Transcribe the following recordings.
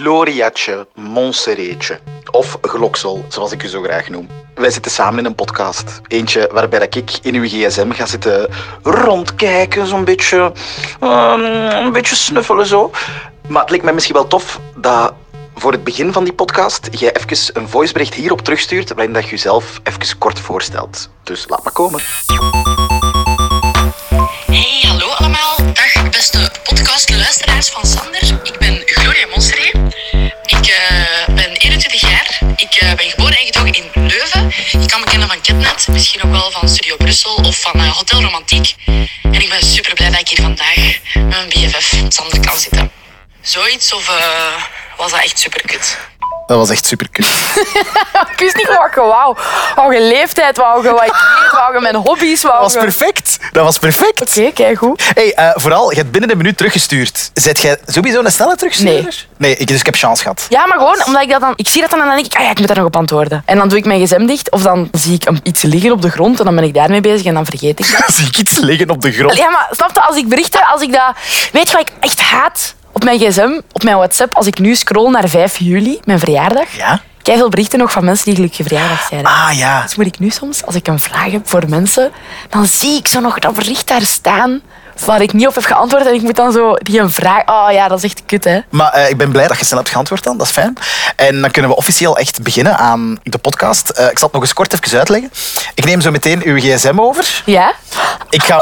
Gloriatje, Monseretje of Gloksel, zoals ik u zo graag noem. Wij zitten samen in een podcast. Eentje waarbij dat ik in uw gsm ga zitten rondkijken, zo'n beetje, ehm, een beetje snuffelen zo. Maar het leek mij misschien wel tof dat voor het begin van die podcast jij even een voicebericht hierop terugstuurt waarin dat je jezelf even kort voorstelt. Dus laat maar komen. Hey, hallo allemaal. Dag beste podcastluisteraars van Sander. Ik ben Gloria Monseré. Ik eh, ben 21 jaar. Ik eh, ben geboren en getogen in Leuven. Ik kan me kennen van Ketnet, misschien ook wel van Studio Brussel of van eh, Hotel Romantiek. En ik ben super blij dat ik hier vandaag met mijn BFF Sander kan zitten. Zoiets of eh, was dat echt super kut? Dat was echt super cool. Ik wist niet wat je wou. Wou je leeftijd, wou je wat ik deed, wou je mijn hobby's, wou Dat je... was perfect. Dat was perfect. Oké, kijk goed. Hey, eh, vooral, je hebt binnen de minuut teruggestuurd. Zet jij sowieso een snelle terugstuurder? Nee. ik, dus ik heb chance gehad. Ja, maar gewoon omdat ik dat dan... Ik zie dat dan en dan denk ik, ah ja, ik moet daar nog op antwoorden. En dan doe ik mijn gsm dicht of dan zie ik een- iets liggen op de grond en dan ben ik daarmee bezig en dan vergeet ik dat. Zie ik iets liggen op de grond? Ja, maar snap je, als ik berichten, als ik dat... Weet je wat ik echt haat op mijn gsm, op mijn WhatsApp, als ik nu scroll naar 5 juli, mijn verjaardag? Ja? Kijk veel berichten nog van mensen die gelukkige verjaardag zijn. Ah ja. Dus moet ik nu soms, als ik een vraag heb voor mensen, dan zie ik zo nog dat bericht daar staan waar ik niet op heb geantwoord en ik moet dan zo die een vraag... Oh ja, dat is echt kut, hè. Maar eh, ik ben blij dat je snel hebt geantwoord dan, dat is fijn. En dan kunnen we officieel echt beginnen aan de podcast. Eh, ik zal het nog eens kort even uitleggen. Ik neem zo meteen uw gsm over. Ja? Ik ga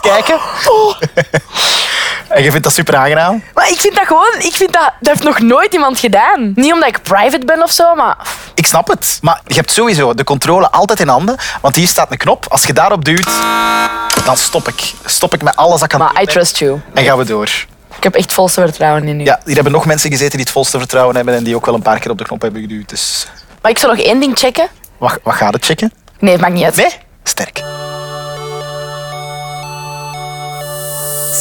kijken. Oh. en je vindt dat super aangenaam? Maar ik vind dat gewoon... Ik vind dat... Dat heeft nog nooit iemand gedaan. Niet omdat ik private ben of zo, maar... Ik snap het. Maar je hebt sowieso de controle altijd in handen. Want hier staat een knop. Als je daarop duwt, dan stop ik. Stop ik met alles dat ik aan het Maar I doen ben. trust you. En gaan we door. Ik heb echt volste vertrouwen in u. Ja, hier hebben nog mensen gezeten die het volste vertrouwen hebben en die ook wel een paar keer op de knop hebben geduwd. Dus Maar ik zal nog één ding checken. wat, wat gaat het checken? Nee, het maakt niet uit. Nee? Sterk.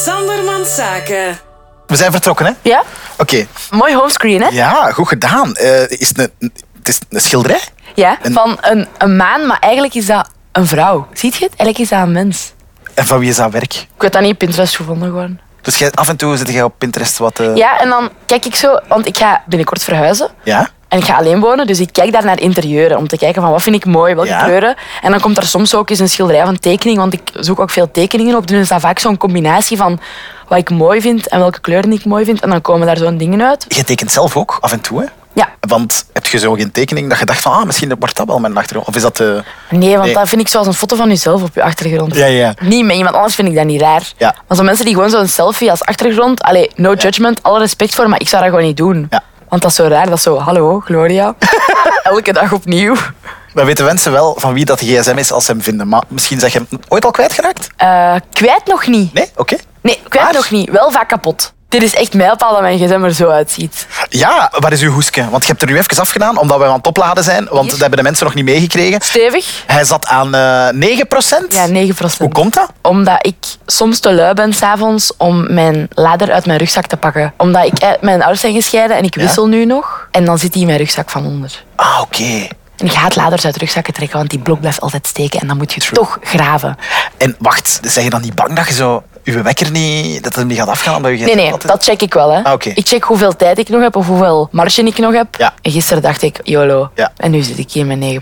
Sandermans Zaken. We zijn vertrokken, hè? Ja? Oké. Mooi homescreen, hè? Ja, goed gedaan. Eh, is het, een, het is een schilderij? Ja. Een- Van een, een maan, maar eigenlijk is dat een vrouw. Ziet je het? Eigenlijk is dat een mens. En van wie is dat werk? Ik weet dat niet op Pinterest gevonden, gewoon. Dus jij, af en toe zit jij op Pinterest wat... eh, Ja, en dan kijk ik zo, want ik ga binnenkort verhuizen. ja? En ik ga alleen wonen, dus ik kijk daar naar interieuren om te kijken van wat vind ik mooi, welke Ja. kleuren. En dan komt er soms ook eens een schilderij van tekening, want ik zoek ook veel tekeningen op. Dus is dat vaak zo'n combinatie van wat ik mooi vind en welke kleuren ik mooi vind. En dan komen daar zo'n dingen uit. Jij tekent zelf ook, af en toe, hè? Ja, Want heb je zo geen tekening dat je dacht van, ah, misschien wordt dat wel mijn achtergrond? Of is dat... eh, nee, want Nee. dat vind ik zoals een foto van jezelf op je achtergrond. Ja, ja. Niet met iemand anders vind ik dat niet raar. Ja. Maar zo'n mensen die gewoon zo'n selfie als achtergrond, allee, no judgment, alle respect voor, maar ik zou dat gewoon niet doen. Ja. Want dat is zo raar, dat is zo, hallo, Gloria. Elke dag opnieuw. Dan weten mensen wel van wie dat gsm is als ze hem vinden. Maar misschien zeg je hem ooit al kwijtgeraakt? Eh, kwijt nog niet. Nee? Oké. Nee, kwijt Maar- nog niet. Wel vaak kapot. Dit is echt mijlpaal dat mijn gsm er zo uitziet. Ja, waar is uw hoesje? Want je hebt er nu even afgedaan, omdat wij aan het opladen zijn. Want Hier. dat hebben de mensen nog niet meegekregen. Stevig? Hij zat aan eh 9%. Ja, 9 Hoe komt dat? Omdat ik soms te lui ben s'avonds om mijn lader uit mijn rugzak te pakken. Omdat ik, eh, mijn ouders zijn gescheiden en ik Ja? wissel nu nog. En dan zit die in mijn rugzak van onder. Ah, oké. En ik haat laders uit rugzakken trekken, want die blok blijft altijd steken. En dan moet je toch graven. En wacht, zijn je dan niet bang dat je zo uw wekker niet, dat het niet gaat afgaan? Omdat je Nee, nee, dat check ik wel. Hè. Ah, oké. Ik check hoeveel tijd ik nog heb of hoeveel marge ik nog heb. Ja. En gisteren dacht ik, YOLO. Ja. En nu zit ik hier met 9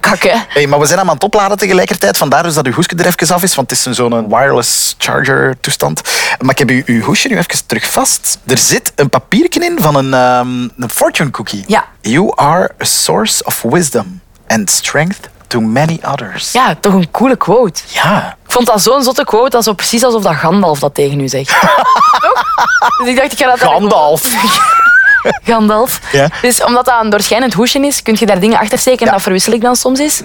Kak, hè. Hey, maar we zijn hem aan het opladen tegelijkertijd, vandaar dus dat uw hoesje er even af is, want het is een- zo'n wireless charger toestand. Maar ik heb uw, uw hoesje nu even terug vast. Er zit een papiertje in van een, ehm, een fortune cookie. Ja. You are a source of wisdom and strength to many others. Ja, toch een coole quote. Ja. Ik vond dat zo'n zotte quote, dat is zo precies alsof dat Gandalf dat tegen u zegt. toch? Dus ik dacht, ik ga dat... Gandalf. Gandalf. Ja. Dus omdat dat een doorschijnend hoesje is, kun je daar dingen achter steken en Ja. dat verwissel ik dan soms eens.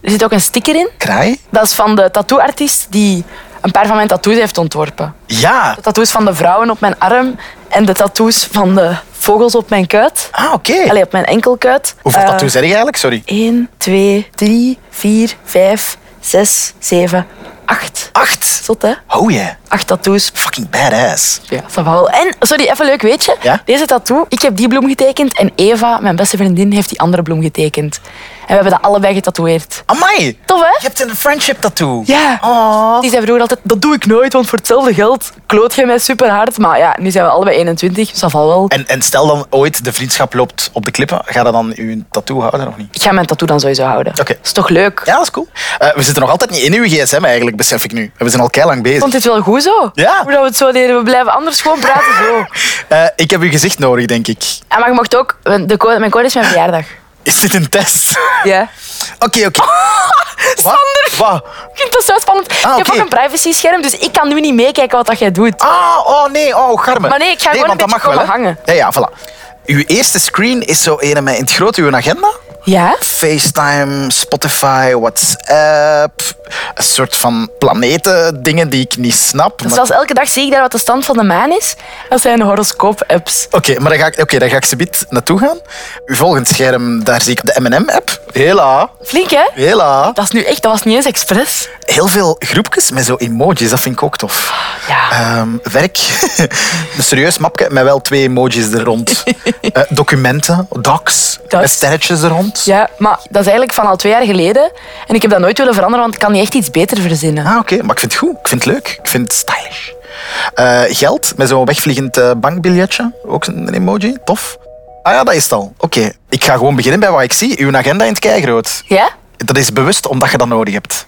Er zit ook een sticker in. Kraai? Dat is van de tattooartiest die een paar van mijn tattoos heeft ontworpen. Ja. De tattoos van de vrouwen op mijn arm en de tattoos van de vogels op mijn kuit. Ah, oké. Allee, op mijn enkelkuit. Hoeveel Eh, tattoos zeg je eigenlijk? Sorry. 1, 2, 3, 4, 5, 6, 7, 8. Acht. Zot, hè? Oh yeah. Acht tattoos. Fucking badass. Ja, ça va wel. En, sorry, even leuk weetje. Ja? Deze tattoo, ik heb die bloem getekend en Eva, mijn beste vriendin, heeft die andere bloem getekend. we hebben dat allebei getatoeëerd. Amai! Tof, Je hè? hebt een friendship tattoo. Ja. Oh. Die zei vroeger altijd, dat doe ik nooit, want voor hetzelfde geld kloot je mij super hard. Maar ja, nu zijn we allebei 21, dus dat valt wel. En, en stel dan ooit de vriendschap loopt op de klippen, ga je dan je tattoo houden of niet? Ik ga mijn tattoo dan sowieso houden. Oké. Is toch leuk? Ja, dat is cool. Eh, we zitten nog altijd niet in uw gsm eigenlijk, besef ik nu. We zijn al keilang bezig. Ik vond dit wel goed zo. Ja. Hoe dat we het zo deden. We blijven anders gewoon praten zo. Eh, ik heb uw gezicht nodig, denk ik. En maar je mocht ook... De code, mijn code is mijn verjaardag. Is dit een test? Ja. Oké, oké. Oh, Sander! Wat? Ik vind dat zo spannend. Ah, Ik heb ook oké. een privacyscherm, dus ik kan nu niet meekijken wat dat jij doet. Ah, oh nee, oh, garme. Maar nee, ik ga gewoon want een dat beetje mag wel, komen hè. hangen. Ja, ja, voilà. Uw eerste screen is zo een met in het groot uw agenda. Ja? FaceTime, Spotify, WhatsApp. Een soort van planeten, dingen die ik niet snap. Dus maar- zelfs elke dag zie ik daar wat de stand van de maan is. Dat zijn horoscoop-apps. Oké, maar daar ga ik, oké, daar ga ik subiet naartoe gaan. Uw volgend scherm, daar zie ik de M&M-app. Hela, Flink, hè? hela. Dat is nu echt... Dat was niet eens expres. Heel veel groepjes met zo emojis, dat vind ik ook tof. Ja. Ehm, werk, een serieus mapje met wel twee emojis er rond. Eh, documenten, docs, Docs. met sterretjes er rond. Ja, maar dat is eigenlijk van al twee jaar geleden. En ik heb dat nooit willen veranderen, want ik kan niet echt iets beter verzinnen. Ah, oké, maar ik vind het goed, ik vind het leuk, ik vind het stylish. Eh, geld, met zo'n wegvliegend eh, bankbiljetje, ook een emoji, tof. Ah ja, dat is het al. Oké, ik ga gewoon beginnen bij wat ik zie. Uw agenda in het keigroot. Ja? Dat is bewust omdat je dat nodig hebt.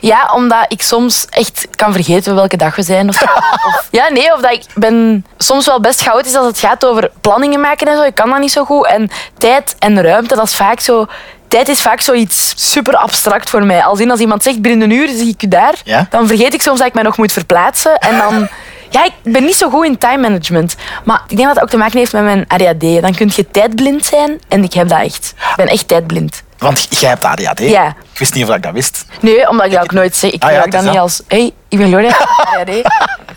Ja, omdat ik soms echt kan vergeten welke dag we zijn. Of, of- ja, nee, of dat ik ben soms wel best chaotisch als het gaat over planningen maken en zo. Ik kan dat niet zo goed. En tijd en ruimte, dat is vaak zo... Tijd is vaak zoiets super abstract voor mij. Als in als iemand zegt binnen een uur zie ik u daar, Ja. dan vergeet ik soms dat ik mij nog moet verplaatsen. En dan... Ja, ik ben niet zo goed in time management. Maar ik denk dat dat ook te maken heeft met mijn ADHD. Dan kun je tijdblind zijn en ik heb dat echt. Ik ben echt tijdblind. Want j- jij hebt ADHD. Ja. Ik wist niet of ik dat wist. Nee, omdat ik dat ook nooit zeg. Ik Ah ja, gebruik het is dat. dat niet als... hey, ik ben Gloria. ja, nee.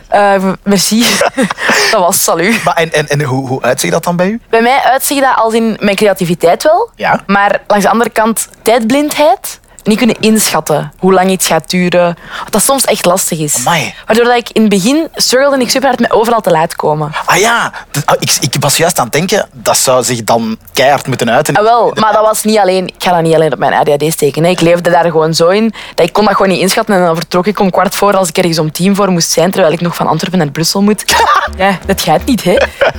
Eh, merci. dat was salu. Maar en, en, en hoe, hoe uitziet dat dan bij u? Bij mij uitziet dat als in mijn creativiteit wel. Ja. Maar langs de andere kant tijdblindheid. Niet kunnen inschatten hoe lang iets gaat duren. Wat dat soms echt lastig is. Amai. Waardoor dat ik in het begin struggelde ik super hard met overal te laat komen. Ah ja, d- ah, ik, ik was juist aan het denken, dat zou zich dan keihard moeten uiten. Ah, wel, maar dat was niet alleen... Ik ga dat niet alleen op mijn ADHD steken. Hè. Ik leefde daar gewoon zo in dat ik kon dat gewoon niet inschatten. En dan vertrok ik om kwart voor als ik ergens om tien voor moest zijn, terwijl ik nog van Antwerpen naar Brussel moet. ja, dat gaat niet, hè.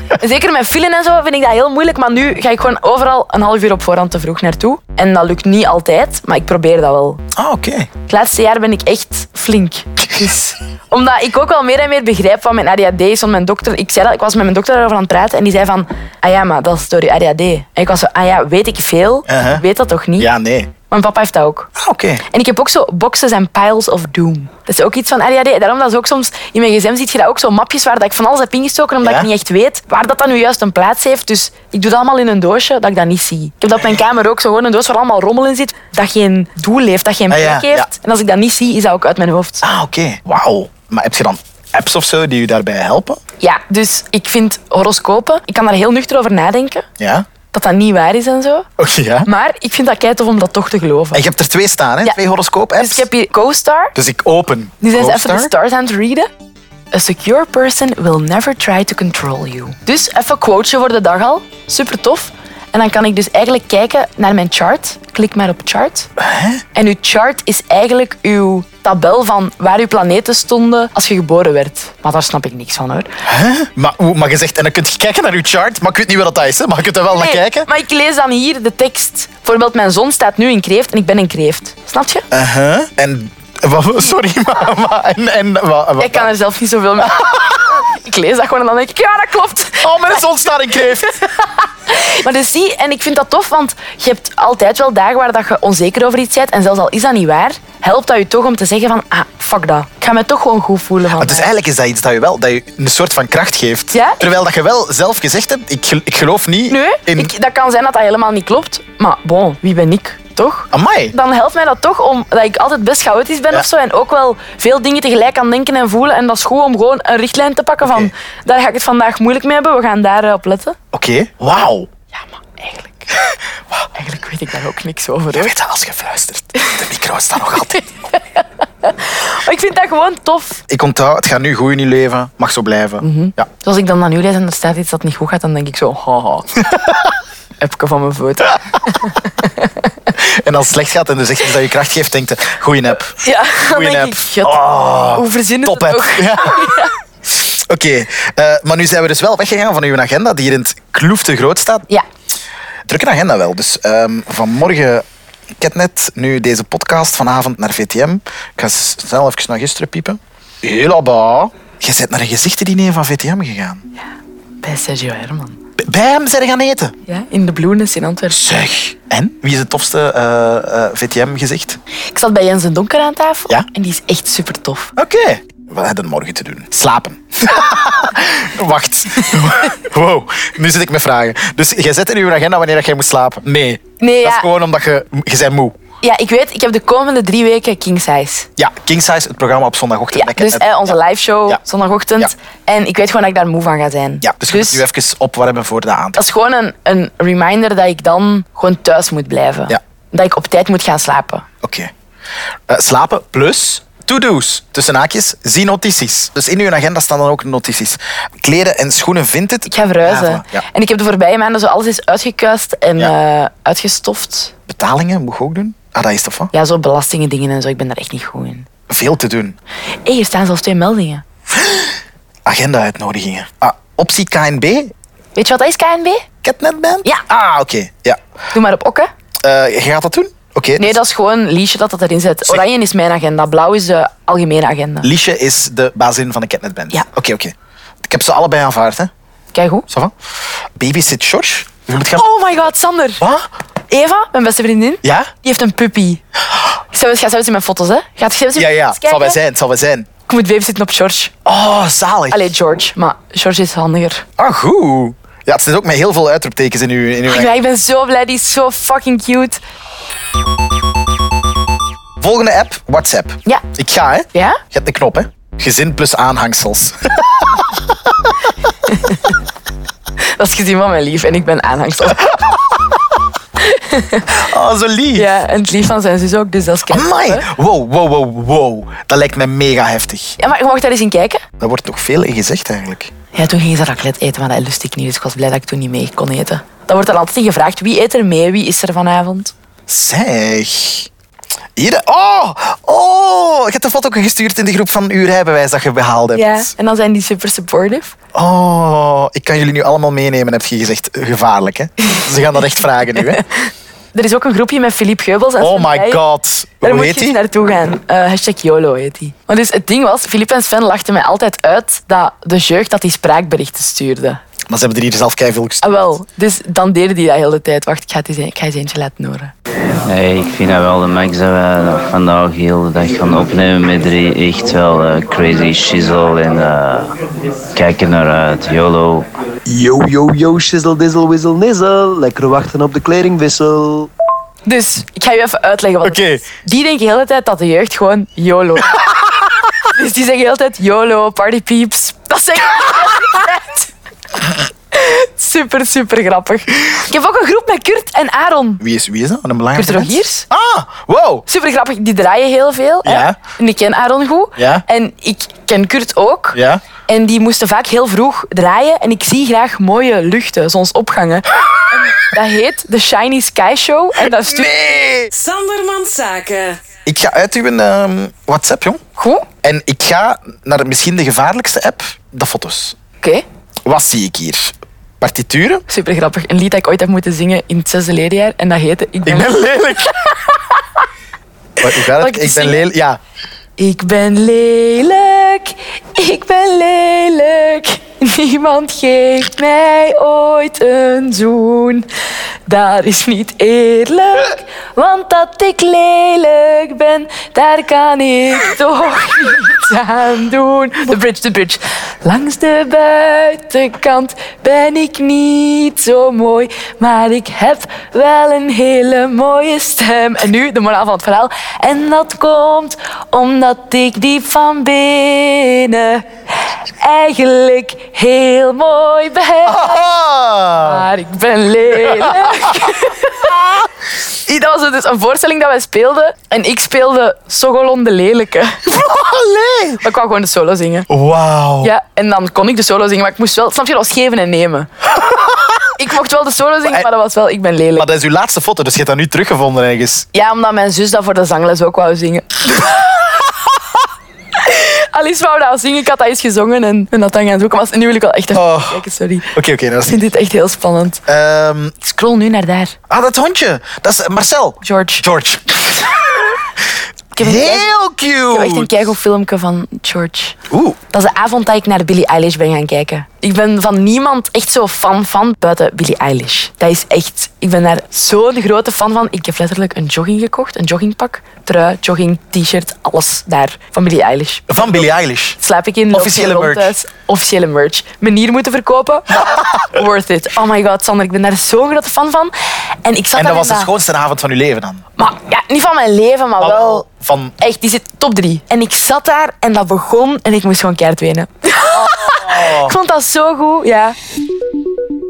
En zeker met filen en zo vind ik dat heel moeilijk. Maar nu ga ik gewoon overal een half uur op voorhand te vroeg naartoe. En dat lukt niet altijd, maar ik probeer dat wel. Ah, oké. Het laatste jaar ben ik echt flink. Dus, omdat ik ook wel meer en meer begrijp van mijn ADHD is. Want mijn dokter, ik, zei dat, ik was met mijn dokter daarover aan het praten en die zei van... Ah ja, maar dat is door je ADHD. En ik was zo, ah ja, weet ik veel? Uh-huh. Ik weet dat toch niet? Ja, nee. Mijn papa heeft dat ook. Ah, oké. En ik heb ook zo boxes en piles of doom. Dat is ook iets van ADHD. Daarom dat is ook soms in mijn gsm ziet je dat ook zo mapjes waar dat ik van alles heb ingestoken omdat Ja? ik niet echt weet waar dat dan nu juist een plaats heeft. Dus ik doe dat allemaal in een doosje dat ik dat niet zie. Ik heb dat op mijn kamer ook zo gewoon een doos waar allemaal rommel in zit dat geen doel heeft, dat geen Ah, plek ja, heeft. ja. En als ik dat niet zie, is dat ook uit mijn hoofd. Ah, oké. Wauw. Maar heb je dan apps of zo die u daarbij helpen? Ja, dus ik vind horoscopen, ik kan daar heel nuchter over nadenken Ja. dat dat niet waar is en zo. Oké, ja. Maar ik vind dat kei tof om dat toch te geloven. En je hebt er twee staan, hè? Ja. Twee horoscoop-apps. Dus ik heb hier CoStar. Dus ik open. Nu zijn ze even CoStar. de stars aan het readen. A secure person will never try to control you. Dus even een quoteje voor de dag al. Super tof. En dan kan ik dus eigenlijk kijken naar mijn chart. Klik maar op chart. En uw chart is eigenlijk uw tabel van waar uw planeten stonden als je geboren werd. Maar daar snap ik niks van hoor. Maar, hoe- maar je zegt, en dan kun je kijken naar uw chart, maar ik weet niet wat dat is, hè? Maar je kunt er wel naar Nee, kijken. Maar ik lees dan hier de tekst. Bijvoorbeeld mijn zon staat nu in kreeft en ik ben in kreeft. Snap je? Uh-huh. En... wat- Sorry, maar... maar- en, en, wat- wat- Ik kan er zelf niet zoveel mee. ik lees dat gewoon en dan denk ik, ja dat klopt. Oh, mijn zon staat in kreeft. Maar dus zie, en ik vind dat tof, want je hebt altijd wel dagen waar dat je onzeker over iets bent. En zelfs al is dat niet waar, helpt dat je toch om te zeggen van, ah, fuck dat. Ik ga me toch gewoon goed voelen van Maar dus vandaag. eigenlijk is dat iets dat je wel dat je een soort van kracht geeft. Ja? Terwijl dat je wel zelf gezegd hebt, ik, gel- ik geloof niet Nee, in... ik, dat kan zijn dat dat helemaal niet klopt. Maar bon, wie ben ik, toch? Amai. Dan helpt mij dat toch, omdat ik altijd best chaotisch ben Ja. of zo. En ook wel veel dingen tegelijk aan denken en voelen. En dat is goed om gewoon een richtlijn te pakken van... Oké. Daar ga ik het vandaag moeilijk mee hebben, we gaan daar eh, op letten. Oké, wauw. Ja, maar eigenlijk... Eigenlijk weet ik daar ook niks over, hoor. Weet dat als je fluistert? De micro staat nog altijd. Maar ik vind dat gewoon tof. Ik onthoud, het gaat nu goed in je leven, mag zo blijven. Ja. Dus als ik dan aan u lees en er staat iets dat niet goed gaat, dan denk ik zo, haha. Epke van mijn foto. En als het slecht gaat en dus echt iets dat je kracht geeft, denkt je, goeie app. Ja, dan Goeie denk app. ik, "Gut, Oh, hoe verzinnen top ze het app. ook? Ja. Oké, eh, maar nu zijn we dus wel weggegaan van uw agenda, die hier in het kloef te groot staat. Ja, Drukke agenda wel. Dus ehm, vanmorgen, ik heb net nu deze podcast vanavond naar VTM. Ik ga s- snel even naar gisteren piepen. Helaba. Je bent naar een gezichtendiner van VTM gegaan. bij Sergio Herman. B- bij hem zijn we gaan eten. Ja, in de Bloenis in Antwerpen. Zeg. En? Wie is het tofste eh, VTM-gezicht? Ik zat bij Jens en Donker aan tafel Ja? en die is echt super tof. Oké. Wat hebben we morgen te doen? Slapen. Wacht. wow, nu zit ik met vragen. Dus jij zet in uw agenda wanneer dat jij moet slapen? Nee. Nee, Dat is ja. gewoon omdat je... Je bent moe. Ja, ik weet, ik heb de komende drie weken King Size. Ja, King Size, het programma op zondagochtend. Ja, Dat ik- dus eh, onze live show Ja. zondagochtend. Ja. En ik weet gewoon dat ik daar moe van ga zijn. Ja, dus, je moet je even opwarmen voor de avond. dat is gewoon een, een reminder dat ik dan gewoon thuis moet blijven. Ja. Dat ik op tijd moet gaan slapen. Oké. Eh, slapen plus to-do's. Tussen haakjes, zie notities. Dus in uw agenda staan dan ook notities. Kleren en schoenen vindt het. Ik ga verhuizen. Ja, voilà. Ja. En ik heb de voorbije maanden zo alles is uitgekuist en Ja. eh, uitgestoft. Betalingen moet je ook doen. Ah, dat is toch van? Ja, zo belastingen dingen en zo. Ik ben daar echt niet goed in. Veel te doen. Hé, hier staan zelfs twee meldingen. Agenda-uitnodigingen. Ah, optie KNB? Weet je wat dat is, KNB? Catnetband? Ja. Ah, oké. Ja. Doe maar op okken. Eh, je gaat dat doen? Oké. dus Nee, dat is gewoon Liesje dat dat erin zit. Zeg- Oranje is mijn agenda, blauw is de algemene agenda. Liesje is de bazin van de Catnetband. Ja. Oké, oké. Ik heb ze allebei aanvaard, hè. Kijk hoe. Ça va? Babysit George? Je moet gaan... Oh my god, Sander. Wat? Eva, mijn beste vriendin, die Ja? heeft een puppy. Ik zou- Ga zelfs in mijn foto's, hè? Gaat je zelfs in Ja, mijn ja, foto's het zal kijken? wel zijn, het zal wel zijn. Ik moet babysitten op George. Oh, zalig. Allee, George, maar George is handiger. Ah, goed. Ja, het zit ook met heel veel uitroeptekens in uw... In uw... Ik ben, ik ben zo blij, die is zo fucking cute. Volgende app, WhatsApp. Ja. Ik ga, hè. Ja? Je hebt een knop, hè. Gezin plus aanhangsels. Dat is gezien van mijn lief en ik ben aanhangsel. Oh, zo lief. Ja, en het lief van zijn zus ook, dus dat is kijk. Amai. Wow, wow, wow, wow. Dat lijkt me mega heftig. Ja, maar je mocht daar eens in kijken. Daar wordt nog veel in gezegd, eigenlijk. Ja, toen gingen ze raclette eten, maar dat lust ik niet. Dus ik was blij dat ik toen niet mee kon eten. Dan wordt er altijd niet gevraagd wie eet er mee, wie is er vanavond. Zeg. Hier, oh, oh. Je hebt een foto gestuurd in de groep van uw rijbewijs dat je behaald hebt. Ja. En dan zijn die super supportive. Oh, ik kan jullie nu allemaal meenemen, heb je gezegd. Gevaarlijk, hè? Ze gaan dat echt vragen nu, hè? Er is ook een groepje met Philippe Geubels. En Sven Oh my Leij. god. Daar Hoe moet je heet eens die? naartoe gaan. Eh, hashtag YOLO heet die. Want dus het ding was, Philippe en Sven lachten mij altijd uit dat de jeugd dat die spraakberichten stuurde. Maar ze hebben er hier zelf keiveel gestuurd. Ah, wel. Dus dan deden die dat heel de tijd. Wacht, ik ga het eens, ik ga eens eentje laten horen. Hey, ik vind dat wel de max dat wij dat vandaag heel de dag gaan opnemen met drie echt wel eh, crazy shizzle en eh, kijken naar uit. YOLO. Yo, yo, yo, shizzle, dizzle, wizzel, nizzle. Lekker wachten op de kledingwissel. Dus ik ga je even uitleggen wat het Oké. is. Die denken de hele tijd dat de jeugd gewoon YOLO. dus die zeggen de hele tijd YOLO, partypeeps. Dat zeggen ze de hele tijd. Super, super grappig. Ik heb ook een groep met Kurt en Aaron. Wie is, wie is dat? Een belangrijke Kurt mens? Rogiers. Ah, wow. Super grappig, die draaien heel veel. hè. Ja. En ik ken Aaron goed. Ja. En ik ken Kurt ook. Ja. En die moesten vaak heel vroeg draaien. En ik zie graag mooie luchten, zonsopgangen. En dat heet de Shiny Sky Show. En dat stuurt Nee. Sanderman Zaken. Ik ga uit uw ehm, WhatsApp, jong. goed. Oké. En ik ga naar misschien de gevaarlijkste app, de foto's. Wat zie ik hier? Partituren? Super grappig. Een lied dat ik ooit heb moeten zingen in het zesde leerjaar. En dat heette Ik ben, Ik ben lelijk. Wat, hoe gaat Zal het? ik het Ik ben zingen? lelijk. Ja. Ik ben lelijk. Ik ben lelijk. Niemand geeft mij ooit een zoen. Dat is niet eerlijk. Want dat ik lelijk ben, daar kan ik toch niets aan doen. De bridge, de bridge. Langs de buitenkant ben ik niet zo mooi. Maar ik heb wel een hele mooie stem. En nu de moraal van het verhaal. En dat komt omdat ik diep van binnen eigenlijk heel mooi ben. Ah. Maar ik ben lelijk. Dat was dus een voorstelling dat wij speelden. En ik speelde Sogolon de Lelijke. Allee. Maar ik wou gewoon de solo zingen. Wauw. Ja, en dan kon ik de solo zingen, maar ik moest wel... Snap je, dat was geven en nemen. Ik mocht wel de solo zingen, maar dat was wel... Ik ben lelijk. Maar dat is uw laatste foto, dus je hebt dat nu teruggevonden ergens. Ja, omdat mijn zus dat voor de zangles ook wou zingen. Alice wou dat zingen, ik had dat eens gezongen en, en dat dan gaan zoeken. Maar nu wil ik wel echt even Oh. kijken, sorry. Oké, oké, dat Ik is vind niet. dit echt heel spannend. Ehm, Ik scroll nu naar daar. ah, dat hondje. Dat is eh, Marcel. George. George. Ik heb, een kei- Heel ik heb echt een cute. keigoed filmpje van George. Oeh. Dat is de avond dat ik naar Billie Eilish ben gaan kijken. Ik ben van niemand echt zo fan van buiten Billie Eilish. Dat is echt... Ik ben daar zo'n grote fan van. Ik heb letterlijk een jogging gekocht. Een joggingpak. Trui, jogging, t-shirt. Alles daar. Van Billie Eilish. Van Billie Eilish. slaap ik in. loop Officiële rond merch. thuis. Officiële merch. Manier moeten verkopen. maar worth it. Oh my god, Sander, ik ben daar zo'n grote fan van. En ik zat En dat daar was in de schoonste avond van uw leven dan? Maar ja, niet van mijn leven, maar Ah, wel. Van... Echt, die zit top drie. En ik zat daar en dat begon en ik moest gewoon keihard wenen. ik vond dat zo goed, ja.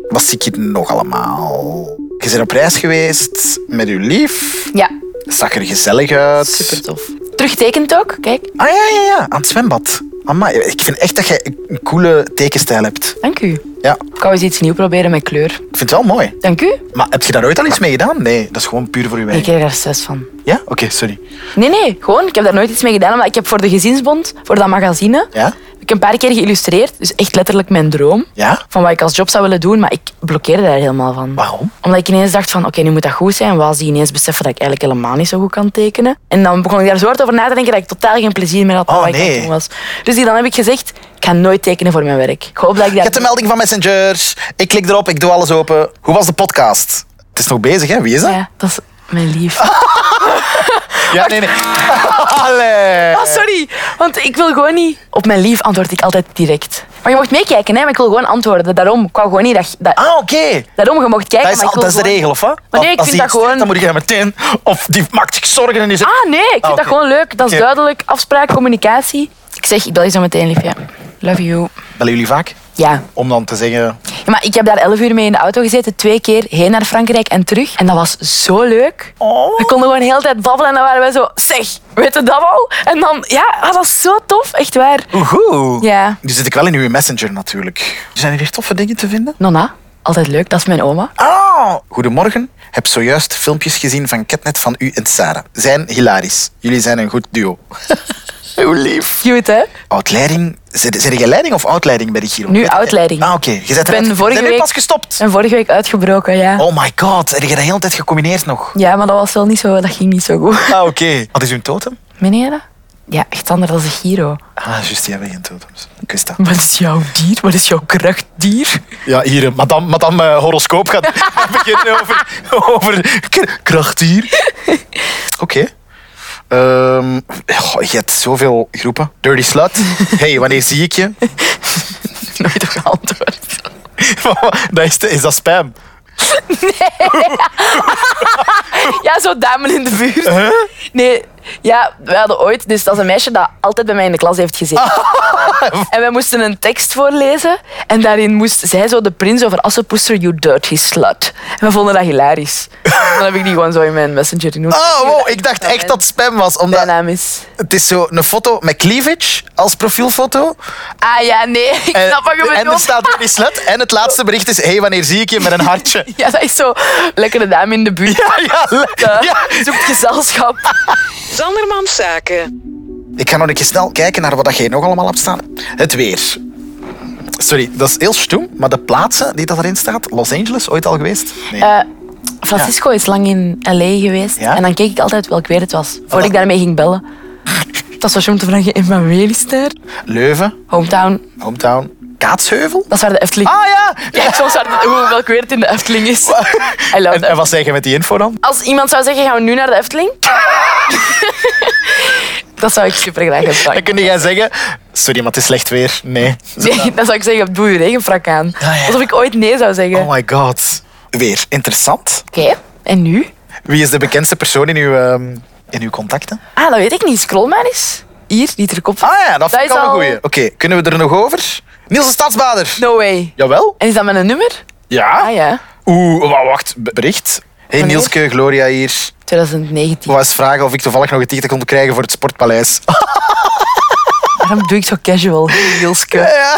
Wat zie ik hier nog allemaal? Je bent op reis geweest met uw lief. Ja, Zag er gezellig uit. super tof. Terugtekent ook, kijk. Ah ja, ja, ja. Aan het zwembad. Amai, ik vind echt dat jij een coole tekenstijl hebt. Dank u. Ja, Ik wou eens iets nieuws proberen met kleur. ik vind het wel mooi. Dank u. Maar heb je daar ooit al iets mee gedaan? Nee, dat is gewoon puur voor je Ik werk. krijg daar stress van. Ja? Oké, sorry. Nee, nee, gewoon. Ik heb daar nooit iets mee gedaan. Omdat ik heb voor de gezinsbond, voor dat magazine, Ja? heb ik een paar keer geïllustreerd. Dus echt letterlijk mijn droom. Ja? Van wat ik als job zou willen doen, maar ik blokkeerde daar helemaal van. Waarom? Omdat ik ineens dacht van, oké, nu moet dat goed zijn. Was die ineens beseffen dat ik eigenlijk helemaal niet zo goed kan tekenen. En dan begon ik daar zo hard over na te denken dat ik totaal geen plezier meer had aan Oh, wat ik aan het nee. doen was. Dus dan heb ik gezegd, ik ga nooit tekenen voor mijn werk. Ik hoop dat ik Ik daar... heb de melding van Messenger. Ik klik erop, ik doe alles open. Hoe was de podcast? Het is nog bezig, hè? Wie is dat? Ja, dat is mijn lief. Ah, Ja, nee, nee. Allee. Ah, sorry. Want ik wil gewoon niet... Op mijn lief antwoord ik altijd direct. Maar je mocht meekijken, hè. Maar ik wil gewoon antwoorden. Daarom, ik wou gewoon niet dat... dat- Ah, oké. Daarom, je mocht kijken, Dat is, maar ik wil dat is de gewoon- regel, of wat? Maar nee, Als- ik als vind die dat iets zegt, gewoon- Dan moet je meteen... Of die maakt zich zorgen en die zegt... Ah, nee, ik vind Ah, dat oké. gewoon leuk. Dat is Oké. duidelijk. Afspraak, communicatie. Ik zeg, ik bel je zo meteen, liefje. Love you. Bellen jullie vaak? Ja. Om dan te zeggen... Ja, Maar ik heb daar elf uur mee in de auto gezeten. Twee keer heen naar Frankrijk en terug. En dat was zo leuk. Oh. We konden gewoon de hele tijd babbelen en dan waren wij zo... Zeg, weet je dat al? En dan... Ja, ah, dat is zo tof. Echt waar. Oehoe. Ja. Nu zit ik wel in uw messenger natuurlijk. Zijn er hier toffe dingen te vinden? Nonna, altijd leuk. Dat is mijn oma. Ah! Goedemorgen. Heb zojuist filmpjes gezien van Ketnet van u en Sarah. Zijn hilarisch. Jullie zijn een goed duo. Hoe lief. Cute, hè? Outleiding. Zijn zijn jij leiding of outleiding bij de Giro? Nu outleiding. Ah, oké. Je bent ben eruit- vorige je bent nu week- pas gestopt. En vorige week uitgebroken, ja. Oh my god. Heb je dat de hele tijd gecombineerd nog? Ja, maar dat was wel niet zo... Dat ging niet zo goed. Ah, oké. Wat is uw totem? Meneer? dat? Ja, echt anders dan de Giro. Ah, juist. Die hebben geen totems. Ik wist dat. Wat is jouw dier? Wat is jouw krachtdier? Ja, hier, eh, madame, madame eh, horoscoop gaat beginnen over, over k- kracht hier. Oké. Ehm, goh, je hebt zoveel groepen. Dirty Slut. hey, wanneer zie ik je? Nooit op geantwoord. dat is, de- is dat spam? Ja, zo duimen in de buurt. Nee, ja, we hadden ooit... Dus dat is een meisje dat altijd bij mij in de klas heeft gezeten. Ah. En wij moesten een tekst voorlezen. En daarin moest zij zo de prins over Assepoester, you dirty slut. En we vonden dat hilarisch. Dan heb ik die gewoon zo in mijn messenger genoemd. Oh, wow, ik dacht echt dat het spam was. Mijn Omdat naam is... het is zo een foto met cleavage als profielfoto. Ah ja, nee, ik En, snap wat je en Nou, er bedoelt. staat Dirty Slut. En het laatste bericht is, hey, wanneer zie ik je? Met een hartje. Ja, dat is zo. Lekkere dame in de buurt. Ja, ja, le- eh, ja. Zoekt gezelschap. Zandermans Zaken. Ik ga nog een keer snel kijken naar wat dat jij nog allemaal hebt staan. Het weer. Sorry, dat is heel stoem, maar de plaatsen die dat erin staat, Los Angeles, ooit al geweest? Nee. Eh, Francisco is lang in L.A. geweest. Ja? En dan keek ik altijd welk weer het was. Voordat dat- ik daarmee ging bellen. Dat was om te vragen in mijn weer is daar. Leuven, Hometown. hometown, Kaatsheuvel. Dat is waar de Efteling... Ah ja! Kijk soms waar de- hoe, welk weer het in de Efteling is. I love En, en that. wat zeg je met die info dan? Als iemand zou zeggen, gaan we nu naar de Efteling? dat zou ik super graag hebben. Dan kun jij zeggen, sorry, maar het is slecht weer. Nee. Nee, dan zou ik zeggen, doe je regenfrak aan. Ah, Ja, ja. Alsof ik ooit nee zou zeggen. Oh my god. Weer, interessant. Oké, en nu? Wie is de bekendste persoon in uw, ehm, in uw contacten? Ah, dat weet ik niet. Scroll maar eens. Hier, die ter kop. Ah ja, dat vind ik is wel een al- goeie. Oké, kunnen we er nog over? Niels de Stadsbader. No way. Jawel? En is dat met een nummer? Ja. Ah ja, Oeh, wa- wacht, b- bericht. Hey Wanneer? Nielske, Gloria hier. 2019. Ik wou eens vragen of ik toevallig nog een ticket kon krijgen voor het Sportpaleis. Waarom doe ik zo casual, Hey, Jilske? Ja.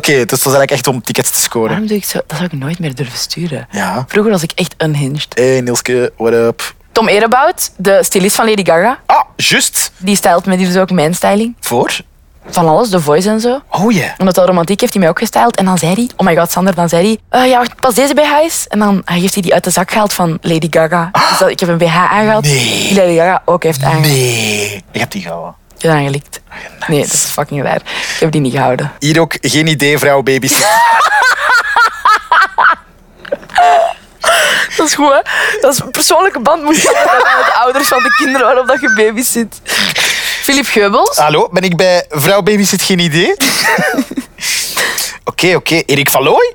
dus dat is eigenlijk echt om tickets te scoren. Waarom doe ik zo? Dat zou ik nooit meer durven sturen. Ja. Vroeger was ik echt unhinged. Hey Nielske, what up? Tom Erebout, de stylist van Lady Gaga, Ah, juist. die stylt me dus ook mijn styling. Voor? Van alles, de voice en zo. Oh ja. Omdat dat romantiek heeft hij mij ook gestyld. En dan zei hij, oh my god Sander, dan zei hij, eh, ja wacht, pas deze BH's. En dan hij heeft hij die uit de zak gehaald van Lady Gaga. Dus dat, ik heb een BH aangehaald Nee. die Lady Gaga ook heeft aangehaald. Nee. Ik heb die gehouden. Ik heb dat aangelikt. Nee, dat is fucking raar. Ik heb die niet gehouden. Hier ook geen idee, vrouw, baby's. Dat is goed, hè? Dat is een persoonlijke band moet je hebben met de ouders van de kinderen waarop dat je baby zit. Philip Geubels. Hallo, ben ik bij vrouw, baby's het geen idee? Oké, oké. Erik van Looy?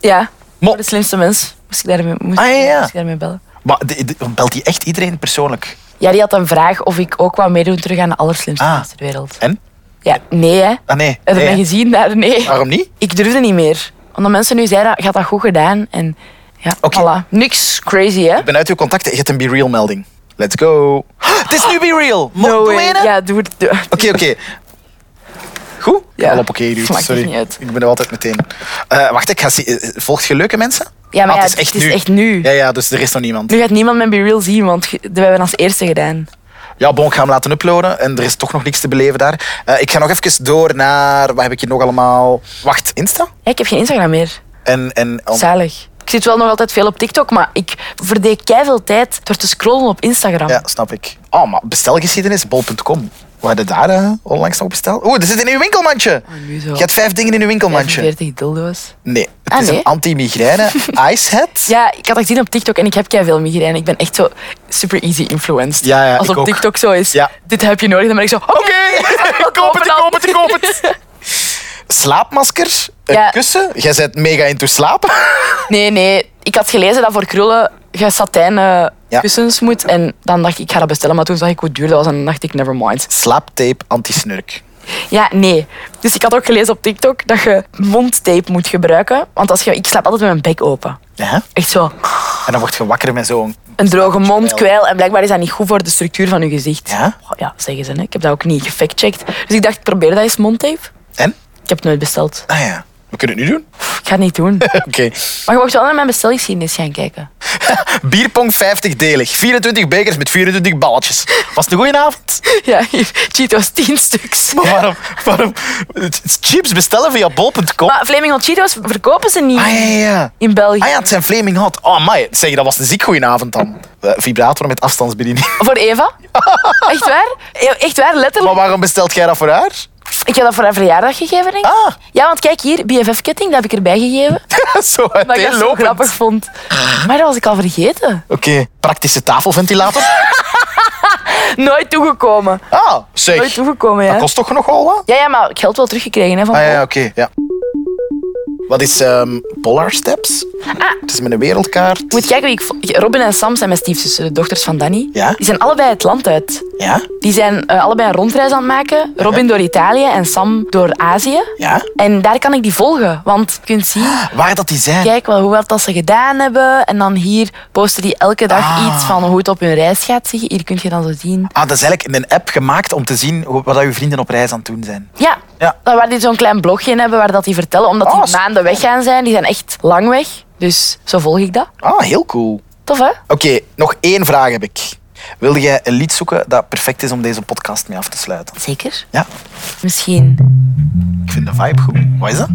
Ja, Mo- de slimste mens. Moest ik daarmee, moest, Ah, ja, ja. moest ik daarmee bellen. Maar de- de- belt hij echt iedereen persoonlijk? Ja, die had een vraag of ik ook wou meedoen terug aan de allerslimste Ah. mens ter wereld. En? Ja, nee, hè? Ah nee. Heb je nee. Ah. mij gezien daar? Nee. Waarom niet? Ik durfde niet meer. Omdat mensen nu zeiden, je had dat goed gedaan. En ja, Oké. voilà. Niks crazy, hè? Ik ben uit uw contacten. Je hebt een Be Real melding. Let's go. Het is nu Be Real. Mo- No doe way. ene? Ja, doe het. doe- Oké, oké. Goed? Ja. Al op oké, dude. Maakt Sorry. echt niet uit. Ik ben er altijd meteen. Eh, wacht, ik ga zien. Eh, Volgt je leuke mensen? Ja, maar Ah, ja, het is echt nu. Ja, ja, dus er is nog niemand. Nu gaat niemand mijn Be Real zien, want ge- we hebben als eerste gedaan. Ja, bon, ik ga hem laten uploaden en er is toch nog niks te beleven daar. Eh, ik ga nog even door naar... Wat heb ik hier nog allemaal? Wacht, Insta? Ja, ik heb geen Instagram meer. En... en Zalig. Ik zit wel nog altijd veel op TikTok, maar ik verdeed veel tijd door te scrollen op Instagram. ja, snap ik. Oh, maar bestelgeschiedenis, bol.com. We hadden daar eh, onlangs nog besteld. Oeh, er zit in uw winkelmandje. nu zo. Je hebt vijf dingen in uw winkelmandje. 45 dildo's. Nee, het Ah, is nee? een anti-migraine icehead. Ja, ik had dat gezien op TikTok en ik heb veel migraine. Ik ben echt zo super easy influenced. Ja, ja, Als ik op ook. TikTok zo is, Ja. dit heb je nodig, dan ben ik zo, oké, koop het, ik koop het, ik koop het. Slaapmaskers, een Ja. kussen. Jij bent mega into slapen. Nee, nee. Ik had gelezen dat voor krullen je satijnen Ja. kussens moet. En dan dacht ik, ik ga dat bestellen. Maar toen zag ik hoe duur dat was en dan dacht ik, never mind. Slaaptape, anti-snurk. Ja, nee. Dus ik had ook gelezen op TikTok dat je mondtape moet gebruiken. Want als je, ik slaap altijd met mijn bek open. Ja, Echt zo. en dan word je wakker met zo'n... Een droge mond, kwijl. En blijkbaar is dat niet goed voor de structuur van je gezicht. Ja? Oh, ja zeggen ze. Hè. Ik heb dat ook niet gefactcheckt. Dus ik dacht, ik probeer dat eens, mondtape. En? Ik heb het nooit besteld. Ah ja, we kunnen het nu doen. Pff, ik ga het niet doen. Oké. Maar je mocht wel naar mijn bestelgeschiedenis gaan kijken. Bierpong 50-delig. 24 bekers met 24 balletjes. Was het een goeie avond? Ja, hier, Cheetos, tien stuks. Maar waarom, waarom... het- het Chips bestellen via bol.com? Maar Flaming Hot Cheetos verkopen ze niet Ah ja, ja, ja. in België. Ah ja, het zijn Flaming Hot. Oh, my. Zeg, dat was een ziek goeie avond dan. Eh, Vibrator met afstandsbediening. Voor Eva? Echt waar? E- Echt waar, Maar letterlijk. waarom bestelt jij dat voor haar? Ik heb dat voor haar verjaardag gegeven, denk ik. Ah. Ja, want kijk hier, BFF-ketting, dat heb ik erbij gegeven. Zo Dat ik dat zo uiteenlopend. grappig vond. Maar dat was ik al vergeten. Oké, praktische tafelventilator. Nooit toegekomen. Ah, zeg. Nooit toegekomen, Dat ja. kost toch nogal wat? Ja, ja, maar ik geld wel teruggekregen hè, van Ah ja, Paul. ja, oké. ja. Wat is ehm, Polar Steps? Ah. Het is met een wereldkaart. Je moet kijken wie ik vo- Robin en Sam zijn mijn stiefzussen, de dochters van Danny. Ja. Die zijn allebei het land uit. Ja? Die zijn eh, allebei een rondreis aan het maken. Robin door Italië en Sam door Azië. Ja? Ah. En daar kan ik die volgen, want je kunt zien Waar dat die zijn? kijk wel hoe wat dat ze gedaan hebben. En dan hier posten die elke dag Ah. iets van hoe het op hun reis gaat. Zie je, hier kun je dan zo zien. Ah, dat is eigenlijk een app gemaakt om te zien hoe- wat dat uw vrienden op reis aan het doen zijn. Ja, Ja. daar waar die zo'n klein blogje in hebben waar dat die vertellen. Omdat Ah, die slim. maanden weg gaan zijn. Die zijn echt lang weg. Dus zo volg ik dat. Ah, heel cool. Tof, hè? Oké, nog één vraag heb ik. Wilde jij een lied zoeken dat perfect is om deze podcast mee af te sluiten? Zeker. Ja, Misschien. ik vind de vibe goed. Wat is dat?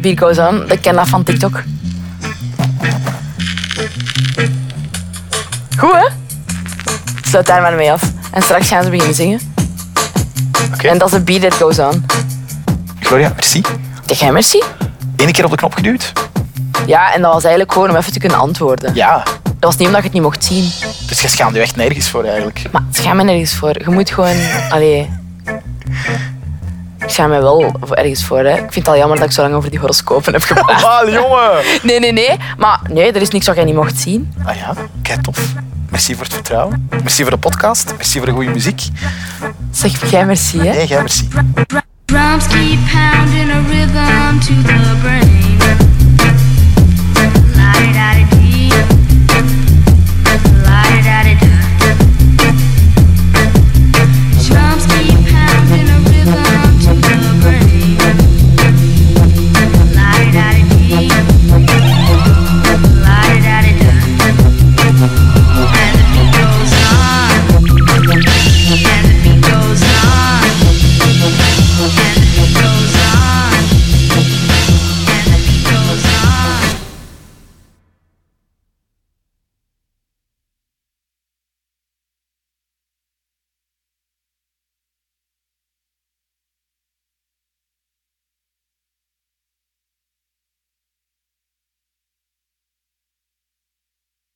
Beer Goes On. Ik ken dat van TikTok. Goed, hè? Sluit daar maar mee af. En straks gaan ze beginnen zingen. Oké. En dat is de beat that goes on. Gloria, merci. Zeg jij merci? Eén keer op de knop geduwd. Ja, en dat was eigenlijk gewoon om even te kunnen antwoorden. Ja, Dat was niet omdat je het niet mocht zien. dus je schaamt je echt nergens voor eigenlijk. Maar schaam me nergens voor. Je moet gewoon... Allee... Ik schaam me wel voor- ergens voor. Hè. Ik vind het al jammer dat ik zo lang over die horoscopen heb gepraat. Ah, jongen! Nee, nee, nee. Maar nee, er is niks wat jij niet mocht zien. Ah ja, kijk tof. Merci voor het vertrouwen. Merci voor de podcast. Merci voor de goede muziek. Zeg jij merci, hè. Nee, jij merci. Drums keep pounding a rhythm to the brain.